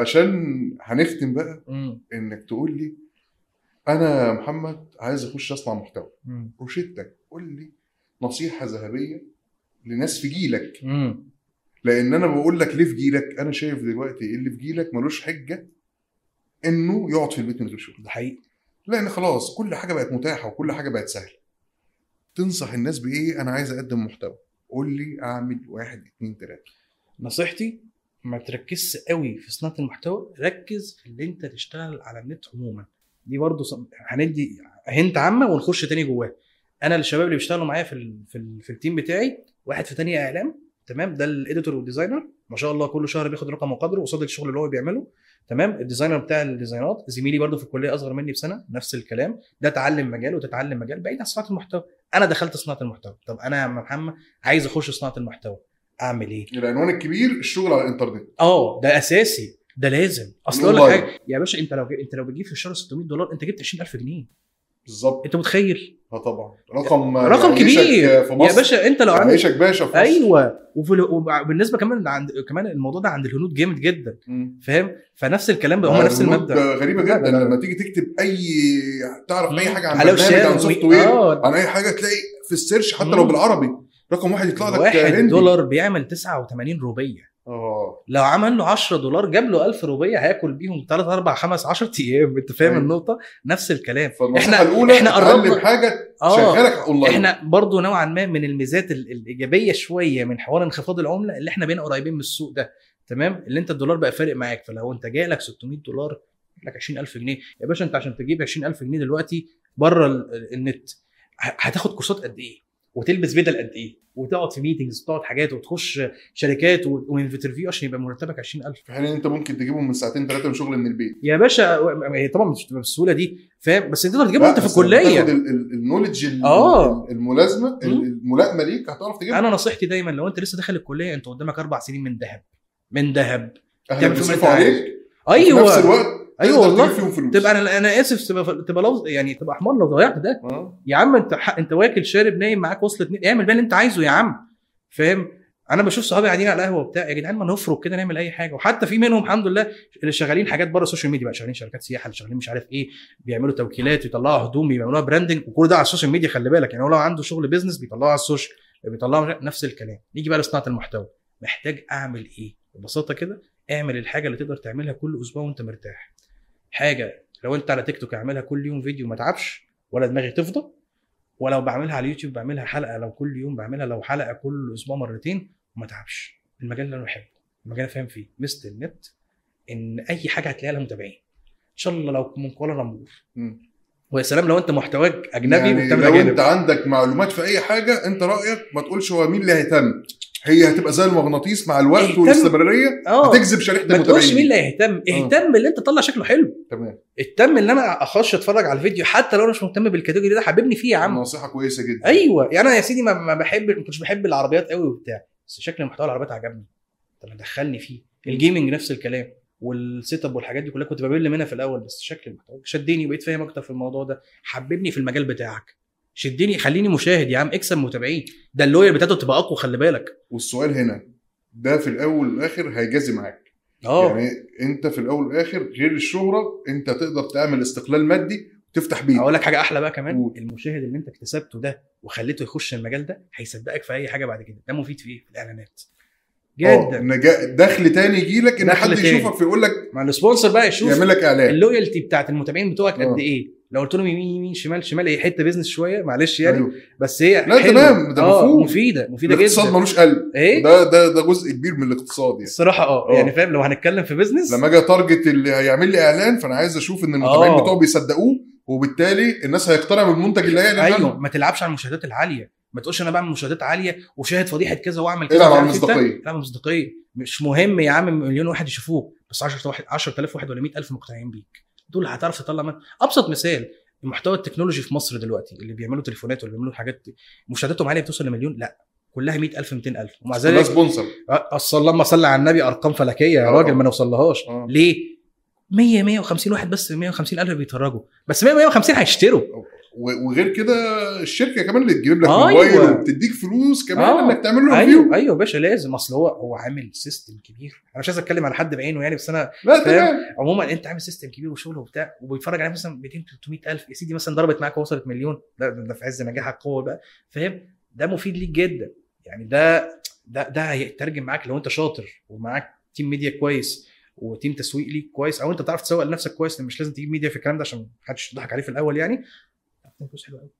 علشان هنختم بقى مم. انك تقول لي انا يا محمد عايز اخش اصنع محتوى مم. روشتك قول لي نصيحه ذهبيه لناس في جيلك مم. لان انا بقول لك ليه في جيلك انا شايف دلوقتي اللي في جيلك ملوش حجه انه يقعد في البيت من غير شغل ده حقيقي لان خلاص كل حاجه بقت متاحه وكل حاجه بقت سهله تنصح الناس بايه انا عايز اقدم محتوى قول لي اعمل واحد اتنين تلاته نصيحتي ما تركزش قوي في صناعه المحتوى ركز في اللي انت تشتغل على النت عموما دي برضه صن- هندي هنت عامه ونخش تاني جواه انا الشباب اللي بيشتغلوا معايا في ال في, ال في التيم بتاعي واحد في تانية اعلام تمام ده الاديتور والديزاينر ما شاء الله كل شهر بياخد رقم وقدره قصاد الشغل اللي هو بيعمله تمام الديزاينر بتاع الديزاينات زميلي برضه في الكليه اصغر مني بسنه نفس الكلام ده اتعلم مجال وتتعلم مجال بعيد عن صناعه المحتوى انا دخلت صناعه المحتوى طب انا يا محمد عايز اخش صناعه المحتوى اعمل ايه العنوان الكبير الشغل على الانترنت اه ده اساسي ده لازم اصل اقول لك والله. حاجه يا باشا انت لو ج- انت لو بتجيب في الشهر 600 دولار انت جبت 20000 جنيه بالظبط انت متخيل اه طبعا رقم رقم يعيشك كبير في يا مصر باشا انت لو عامل عيشك باشا في مصر ايوه وفي ال- وبالنسبه كمان عند كمان الموضوع ده عند الهنود جامد جدا مم. آه، فاهم فنفس الكلام ده هم نفس الهنود المبدا غريبه لا، لا، جدا لا. لما تيجي تكتب اي تعرف اي حاجه عن على برنامج وشام عن سوفت و- وير آه، عن اي حاجه تلاقي في السيرش حتى مم. لو بالعربي رقم واحد يطلع لك واحد هندي. دولار بيعمل 89 روبيه اه لو عمل له 10 دولار جاب له 1000 روبيه هياكل بيهم 3 4 5 10 ايام انت فاهم أيوة. النقطه نفس الكلام فالنصيحه إحنا- الاولى إحنا اتعلم قربنا- حاجه اه شغالك اونلاين احنا برضو نوعا ما من الميزات ال- الايجابيه شويه من حوار انخفاض العمله اللي احنا بقينا قريبين من السوق ده تمام اللي انت الدولار بقى فارق معاك فلو انت جاي لك 600 دولار لك 20000 جنيه يا باشا انت عشان تجيب 20000 جنيه دلوقتي بره ال- ال- النت ه- هتاخد كورسات قد ايه وتلبس بدل قد ايه وتقعد في ميتنجز وتقعد حاجات وتخش شركات و- وانترفيو عشان يبقى مرتبك 20000 في حين ان انت ممكن تجيبهم من ساعتين ثلاثه من شغل من البيت يا باشا و- هي طبعا مش بتبقى بالسهوله دي فاهم بس انت تقدر تجيبها لا، انت في بس لما الكليه تاخد ال- ال- النولج ال- آه. الملازمه ال- مم. الملائمه ليك هتعرف تجيبها انا نصيحتي دايما لو انت لسه داخل الكليه انت قدامك اربع سنين من ذهب من ذهب اهلك تعمل فيهم بيصرفوا اللي أنت عليك في نفس ايوه الوقت أيوة تقدر والله. تجيب فيهم فلوس تبقى انا انا اسف تبقى تبقى لو يعني تبقى حمار لو ضيعت ده آه. يا عم انت حق انت واكل شارب نايم معاك وصلت اتنين اعمل بقى اللي انت عايزه يا عم فاهم انا بشوف صحابي قاعدين على القهوه وبتاع يا جدعان ما نفرق كده نعمل اي حاجه وحتى في منهم الحمد لله اللي شغالين حاجات بره السوشيال ميديا بقى شغالين شركات سياحه اللي شغالين مش عارف ايه بيعملوا توكيلات يطلعوا هدوم بيعملوها براندنج وكل ده على السوشيال ميديا خلي بالك يعني هو لو عنده شغل بيزنس بيطلعه على السوشيال بيطلعه نفس الكلام نيجي بقى لصناعه المحتوى محتاج اعمل ايه ببساطه كده اعمل الحاجه اللي تقدر تعملها كل اسبوع وانت مرتاح حاجه لو انت على تيك توك اعملها كل يوم فيديو ما تعبش ولا دماغي تفضى ولو بعملها على اليوتيوب بعملها حلقه لو كل يوم بعملها لو حلقه كل اسبوع مرتين وما تعبش المجال اللي انا بحبه المجال اللي فاهم فيه مست النت ان اي حاجه هتلاقي لها متابعين ان شاء الله لو من كوالالمبور مم. ويا سلام لو انت محتواك اجنبي يعني وبتعمل لو أجانب. انت عندك معلومات في اي حاجه انت رايك ما تقولش هو مين اللي هيهتم هي هتبقى زي المغناطيس مع الوقت اهتم. والاستمراريه اه هتجذب شريحه ما تقولش المتابعين مين آه. اللي هيهتم اهتم اللي انت تطلع شكله حلو تمام اهتم ان انا اخش اتفرج على الفيديو حتى لو انا مش مهتم بالكاتيجوري ده حببني فيه يا عم نصيحه كويسه جدا ايوه يعني انا يا سيدي ما ما بحب ما كنتش بحب العربيات قوي وبتاع بس شكل محتوى العربيات عجبني طب ما دخلني فيه الجيمنج نفس الكلام والسيت اب والحاجات دي كلها كنت بمل منها في الاول بس شكل المحتوى شدني بقيت فاهم اكتر في الموضوع ده حببني في المجال بتاعك شدني خليني مشاهد يا عم اكسب متابعين ده اللوير بتاعته تبقى اقوى خلي بالك والسؤال هنا ده في الاول والاخر هيجازي معاك اه يعني انت في الاول والاخر غير الشهره انت تقدر تعمل استقلال مادي وتفتح آه. بيه اقول لك حاجه احلى بقى كمان قول. المشاهد اللي انت اكتسبته ده وخليته يخش المجال ده هيصدقك في اي حاجه بعد كده ده مفيد في ايه في الاعلانات آه، جدا إن جا- دخل تاني يجي لك ان دخل حد تاني. يشوفك فيقول لك مع السبونسر بقى يشوف يعمل لك اعلان اللويالتي بتاعت المتابعين بتوعك آه. قد ايه لو قلت لهم يمين يمين شمال شمال هي حته بيزنس شويه معلش يعني أيوة. بس هي لا، حلوة. تمام، ده آه، مفهوم. مفيده مفيده الاقتصاد جدا ملوش قلب ايه ده ده ده جزء كبير من الاقتصاد يعني الصراحه اه آه. يعني فاهم لو هنتكلم في بيزنس لما اجي اتارجت اللي هيعمل لي اعلان فانا عايز اشوف ان المتابعين آه. بتوعه بيصدقوه وبالتالي الناس هيقتنع بالمنتج اللي هيعلن ايوه عنه ما تلعبش على المشاهدات العاليه ما تقولش انا بعمل مشاهدات عاليه وشاهد فضيحه كذا واعمل كذا إيه إيه العب على وعارف إنت؟ المصداقيه العب على المصداقيه مش مهم يا عم مليون واحد يشوفوك بس 10 واحد 10000 واحد ولا 100000 مقتنعين بيك دول هتعرف تطلع من ابسط مثال المحتوى التكنولوجي في مصر دلوقتي اللي بيعملوا تليفونات واللي بيعملوا حاجات مشاهداتهم عاليه بتوصل لمليون لا كلها 100000 200000 ومع ده ذلك سبونسر اصل اللهم صل على النبي ارقام فلكيه يا آه. راجل ما نوصلهاش آه. ليه 100 150 واحد بس 150 الف بيتفرجوا بس 100 150 هيشتروا و- وغير كده الشركه كمان اللي تجيب لك أيوة. موبايل وبتديك فلوس كمان آه. انك تعمل له ريفيو ايوه ايوه يا باشا لازم اصل هو هو عامل سيستم كبير انا مش عايز اتكلم على حد بعينه يعني بس انا لا تمام عموما انت عامل سيستم كبير وشغل وبتاع وبيتفرج عليه مثلا 200 300 الف يا سيدي مثلا ضربت معاك وصلت مليون لا ده ده في عز نجاحك قوه بقى فاهم ده مفيد ليك جدا يعني ده ده ده هيترجم معاك لو انت شاطر ومعاك تيم ميديا كويس وتيم تسويق ليك كويس او انت بتعرف تسوق لنفسك كويس لأن مش لازم تجيب ميديا في الكلام ده عشان محدش يضحك عليه في الاول يعني هتعمل فلوس حلوه قوي